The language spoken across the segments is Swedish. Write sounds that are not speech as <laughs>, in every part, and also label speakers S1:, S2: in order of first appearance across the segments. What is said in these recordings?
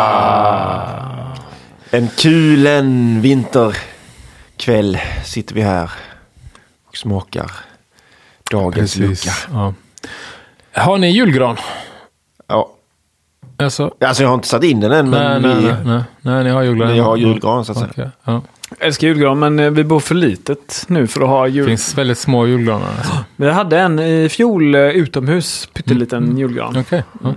S1: Halleluja!
S2: En kulen vinterkväll sitter vi här och smakar dagens lucka.
S1: Ja. Har ni julgran?
S2: Ja.
S1: Alltså,
S2: Alltså jag har inte satt in den än,
S1: nej,
S2: men
S1: nej,
S2: vi,
S1: nej, nej, nej, ni har julgran.
S2: vi har julgran så att säga.
S1: Okej, ja.
S3: Jag älskar julgran, men eh, vi bor för litet nu för att ha
S1: Det
S3: jul.
S1: finns väldigt små julgranar. Alltså.
S3: Vi hade en i fjol eh, utomhus, pytteliten
S1: Mm.
S3: julgran.
S1: Okej. Ja.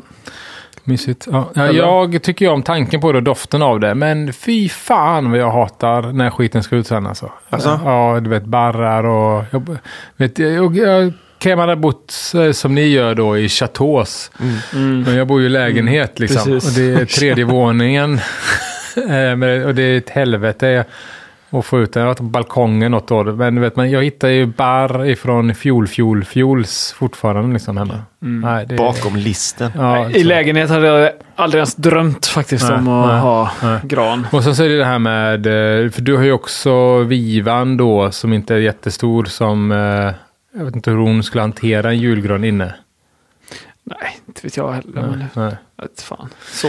S1: Mysigt. Ja. Ja, jag tycker ju om tanken på det och doften av det. Men fy fan vad jag hatar när skiten ska ut sen alltså.
S2: Alltså?
S1: Ja, du vet barrar och... Jag, vet, jag, jag kan man ha bott eh, som ni gör då i Chateaus. Men jag bor ju i lägenhet liksom.
S3: precis.
S1: Och det är tredje våningen. <laughs> Eh, men- och det är ett helvete att få ut den. Jag har varit på balkongen något år. Men du vet, man, jag hittar ju barr ifrån fjol, fjol, fjols fortfarande liksom hemma. Nej, det,
S2: Bakom listen.
S1: Ja,
S3: I
S1: så.
S3: lägenhet hade jag aldrig ens drömt faktiskt
S1: Nej,
S3: om att
S1: nej,
S3: ha
S1: nej.
S3: gran.
S1: Och sen så är det det här med, eh, för du har ju också Vivan då som inte är jättestor som, eh, jag vet inte hur hon skulle hantera en julgran inne.
S3: Nej, inte vet jag heller. Men
S1: Nej.
S3: jag vet fan. Så,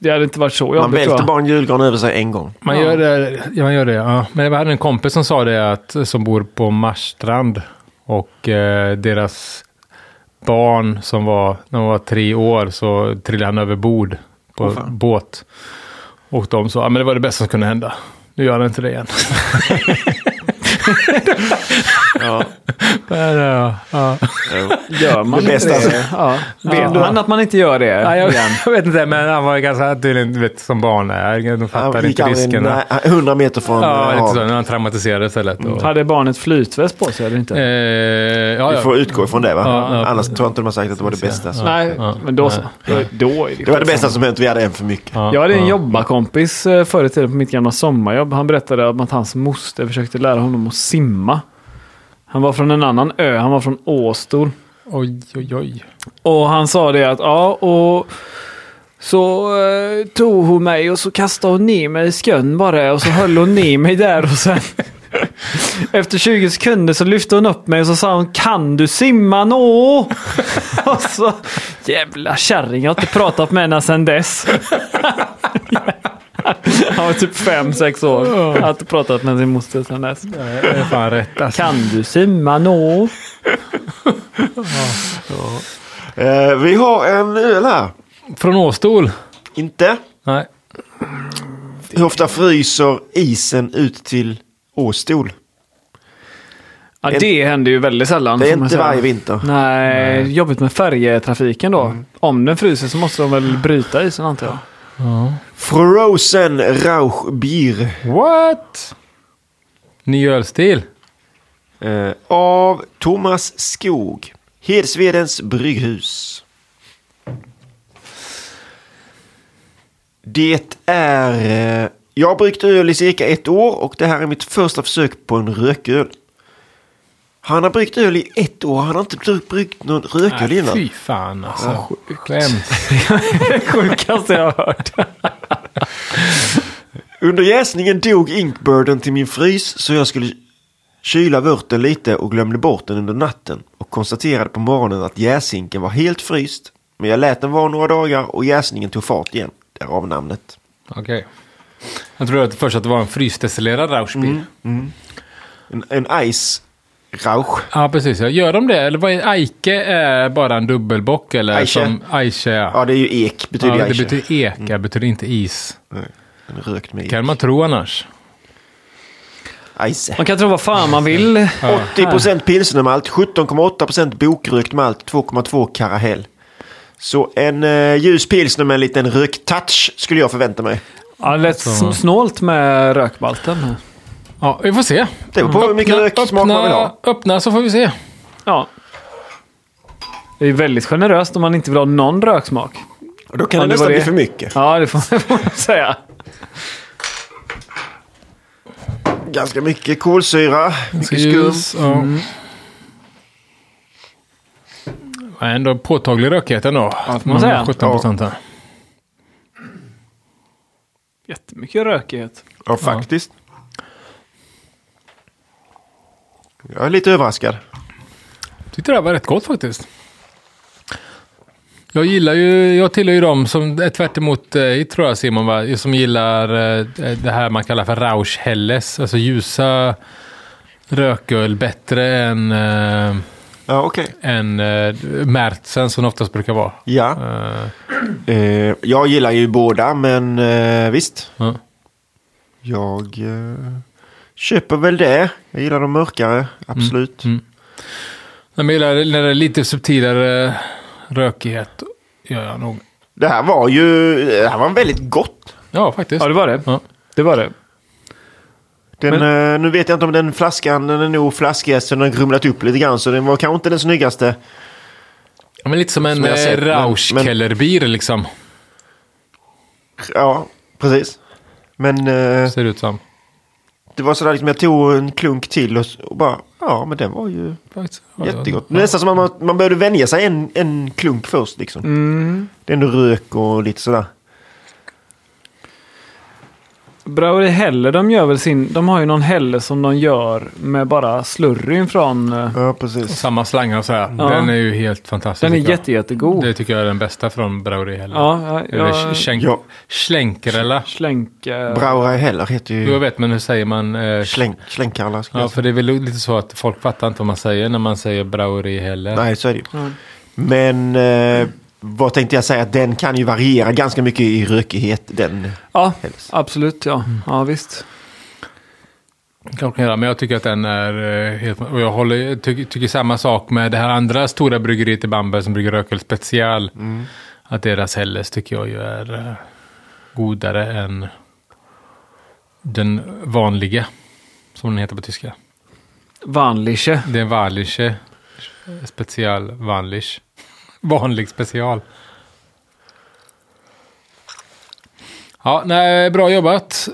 S3: Det hade inte varit så
S2: Man
S3: jobbigt tror
S2: välter
S3: jag.
S2: bara en julgran över sig en gång.
S1: Man
S3: Ja.
S1: gör det, ja, man gör det ja. men jag hade en kompis som sa det att, som bor på Marstrand och eh, deras barn som var, när de var tre år så trillade han över bord på båt. Och de sa, ja men det var det bästa som kunde hända. Nu gör han inte det igen.
S2: Ja.
S1: Men, ja, ja.
S3: Gör man
S2: Det
S3: inte
S2: bästa
S3: det? Ja. Vet man att man inte gör det?
S1: Nej, jag,
S3: igen?
S1: jag vet inte, men han var ganska tydligen, du vet, som barn. är. De
S2: Han
S1: fattade
S2: gick
S1: inte
S2: aldrig
S1: riskerna.
S2: nä- 100 meter från
S1: Ja,
S2: eh,
S1: lite så.
S2: havet.
S1: När han traumatiserade istället. Och,
S3: Hade barnet flytväst på sig eller inte?
S1: Mm, eh, ja,
S2: Vi
S1: ja.
S2: får utgå ifrån det va?
S1: Ja, ja.
S2: Annars tror jag inte de har sagt att det var det bästa. som-
S3: Nej,
S1: ja,
S3: men då
S1: nej.
S3: så. Då, då är det
S2: Det var det bästa som hänt, vi hade en för mycket.
S1: Ja,
S3: Jag hade en
S1: ja.
S3: jobbarkompis eh, förr i tiden på mitt gamla sommarjobb. Han berättade om att hans moster försökte lära honom att simma. Han var från en annan ö, han var från Åstol.
S1: Oj, oj, oj.
S3: Och han sa det att ja, och så eh, tog hon mig och så kastade hon ner mig i skön bara och så höll hon ner mig där och sen <laughs> efter 20 sekunder så lyfte hon upp mig och så sa hon kan du simma nå? <laughs> och så jävla kärring, jag har inte pratat med henne sedan dess. <laughs> Han var typ 5-6 år. Jag har inte pratat med sin moster sedan dess.
S1: Det är fan rätt alltså.
S3: Kan du simma nå?
S2: Eh, vi har en öl här.
S1: Från Åstol?
S2: Inte?
S1: Nej.
S2: Hur ofta fryser isen ut till Åstol?
S3: Ja, det händer ju väldigt sällan.
S2: Det är
S3: får man
S2: inte
S3: säga.
S2: varje vinter.
S3: Nej, Mm. jobbigt med färjetrafiken då. Om den fryser så måste de väl bryta isen antar jag.
S2: Frozen Rauchbier
S1: What? Ny ölstil?
S2: eh, av Thomas Skog. Hedsvedens brygghus. Det är... Eh, jag har bryggt öl i cirka ett år och det här är mitt första försök på en rököl. Han har bryggt öl i ett år. Han har inte bry- bryggt någon rököl
S1: Nej,
S2: innan.
S1: fy fan alltså. Skämt.
S3: <laughs> Det sjukaste jag har hört.
S2: Under jäsningen dog inkbirden till min frys så jag skulle kyla vörten lite och glömde bort den under natten och konstaterade på morgonen att jäsinken var helt fryst. Men jag lät den vara några dagar och jäsningen tog fart igen. Därav namnet.
S1: Okej. Jag trodde att först att det var en frysdestillerad Rauschbier.
S2: Mm. En, en ice rauch.
S1: Ja, precis. Ja. Gör de det? Eller vad är Eike är bara en dubbelbock? Eller
S2: Eiche.
S1: som Eiche, ja.
S2: Ja, det är ju ek betyder Mm.
S1: ja,
S2: ja,
S1: det betyder eka, betyder inte is.
S2: En rökt med
S1: Kan man tro annars.
S2: Ice.
S3: Man kan tro vad fan man vill.
S2: 80% pilsnermalt, 17,8% bokrökt malt, 2,2 karahäll. Så en eh, ljus pilsner med en liten rökt-touch skulle jag förvänta mig.
S3: Ja, det lät sn- snålt med rökbalten.
S1: Ja, vi får se.
S2: Det beror på hur mycket röksmak man vill ha.
S1: öppna så får vi se.
S3: Ja. Det är väldigt generöst om man inte vill ha någon röksmak.
S2: Och då kan
S3: Ja,
S2: det
S3: det
S2: nästan
S3: var
S2: bli
S3: det.
S2: för mycket.
S3: Ja, det får <laughs> det får man säga.
S2: Ganska mycket kolsyra, mycket skum. Mm.
S1: Ljus, ja. Ja, Ändå påtaglig rökighet ändå. Ja,
S3: man säga.
S1: 17 procent här.
S3: Jättemycket rökighet.
S2: Ja, faktiskt. Jag är lite överraskad.
S1: Tyckte det här var rätt gott faktiskt. Jag gillar ju, jag tillhör ju dem som är tvärt emot dig tror jag Simon, va? som gillar eh, det här man kallar för Rausch-Helles. Alltså ljusa rököl bättre än, eh,
S2: Ja, okej.
S1: än eh, Märtsen som det oftast brukar vara.
S2: Ja.
S1: Eh,
S2: Eh, jag gillar ju båda, men eh, visst.
S1: ja.
S2: Jag eh, köper väl det. Jag gillar de mörkare, absolut.
S1: Mm. Nej, men Jag gillar när det är lite subtilare rökighet. Gör jag nog.
S2: Det här var ju... Det här var väldigt gott.
S1: Ja, faktiskt.
S3: Ja, det var det.
S1: Ja.
S3: Det var det.
S2: Den, eh, nu vet jag inte om den flaskan, den är nog flaskjästen, den har grumlat upp lite grann. Så den var kanske inte den snyggaste.
S1: Ja, Men lite som en
S2: Som jag sett,
S1: eh,
S2: men-
S1: Rausch-Kellerbier liksom.
S2: Ja, precis. Men eh,
S1: Ser det ut som.
S2: det var sådär liksom, jag tog en klunk till och, och bara... Ja, men den var ju
S1: Faktiskt. Ja,
S2: jättegott.
S1: ja.
S2: Nästan som att man, man behövde vänja sig en, en klunk först liksom.
S1: Mm.
S3: Mm.
S2: Det är ändå rök och lite sådär.
S3: Brauri Heller, de gör väl sin... De har ju någon Heller som de gör med bara slurryn från... eh,
S2: Ja, precis.
S1: Samma slangar och så här.
S3: Ja.
S1: Den är ju helt fantastisk.
S3: Den är
S1: tycker jag.
S3: jätte, jättegod.
S1: Det tycker jag är den bästa från Brauri heller.
S3: Ja, ja,
S1: Eller
S3: ja,
S1: Schenk-
S2: Ja.
S1: Schlänkerella.
S3: Slänk... eh,
S2: Braura heller heter
S1: Jo, jag
S2: ju
S1: vet, men hur säger man? Eh,
S2: släng, slängkarlar. skulle
S1: ja,
S2: jag säga.
S1: för det är väl lite så att folk fattar inte vad man säger när man säger Brauri heller.
S2: Nej, så är det ju.
S3: Mm.
S2: Men eh, vad tänkte jag säga? Den kan ju variera ganska mycket i rökighet. Den.
S3: Ja,
S2: Helst.
S3: absolut. Ja, ja visst.
S1: Klockan hela, men jag tycker att den är eh, helt... Och jag håller, ty, tycker samma sak med det här andra stora bryggeriet i Bamberg som brygger Rökel Special. Att deras Helles tycker jag ju är eh, godare än den vanliga. Som den heter på tyska.
S3: Vanliche.
S1: Det är Wallische Special Wallisch. <laughs> Vanlig special. Ja, nej, bra jobbat.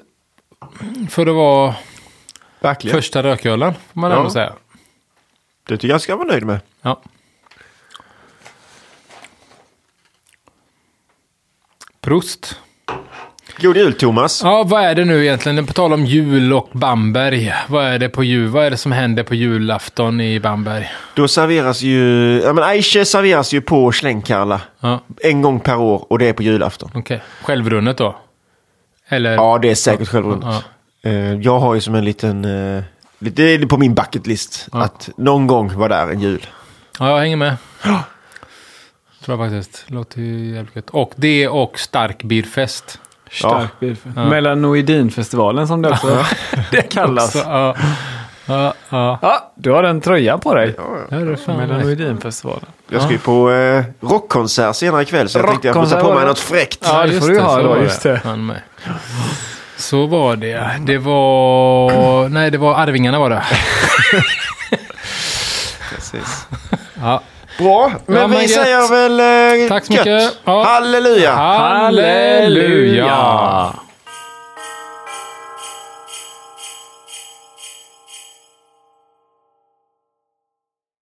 S1: För att vara
S2: Verkligen.
S1: första rökölen, får man
S2: Ja.
S1: ändå säga.
S2: Det tycker jag ska vara nöjd med.
S1: Ja. Prost.
S2: God jul Thomas.
S1: Ja, vad är det nu egentligen? På tal om jul och Bamberg. Vad är det, på jul? vad är det som händer på julafton i Bamberg?
S2: Då serveras ju... Ja, men Aiche serveras ju på slängkarlar.
S1: Ja,
S2: En gång per år och det är på julafton.
S1: okej. Självrunnet då? Eller?
S2: Ja, det är säkert självrunnet.
S1: Ja.
S2: Eh, Jag har ju som en liten... eh, Det är på min bucket list.
S1: Ja.
S2: Att någon gång vara där en jul.
S1: Ja, jag hänger med. <gasps> Tror jag faktiskt. Låter ju jävligt gött. Och det och starkbirfest.
S3: Stark ja. Melanoidinfestivalen som det också <laughs> det kallas.
S1: Så, ja. Ja, ja.
S3: Ja, du har en tröja på dig.
S1: Det är det fan.
S3: Melanoidinfestivalen.
S2: Jag ska ju på eh, rockkonsert senare ikväll så jag tänkte jag får ta
S3: Rockkonsert
S2: på
S3: var
S2: mig
S3: det.
S2: något fräckt.
S3: Ja, det
S1: just
S3: får du ha
S1: så
S3: då,
S1: var
S3: just det.
S1: Fan med. Så var det. Det var... Nej, det var Arvingarna
S3: <laughs>
S1: var det.
S2: Precis.
S1: Ja.
S2: Bra, men
S1: Ja,
S2: vi
S1: men gött.
S2: säger väl eh,
S1: Tack så
S2: gött.
S1: mycket. Ja.
S2: Halleluja!
S1: Halleluja!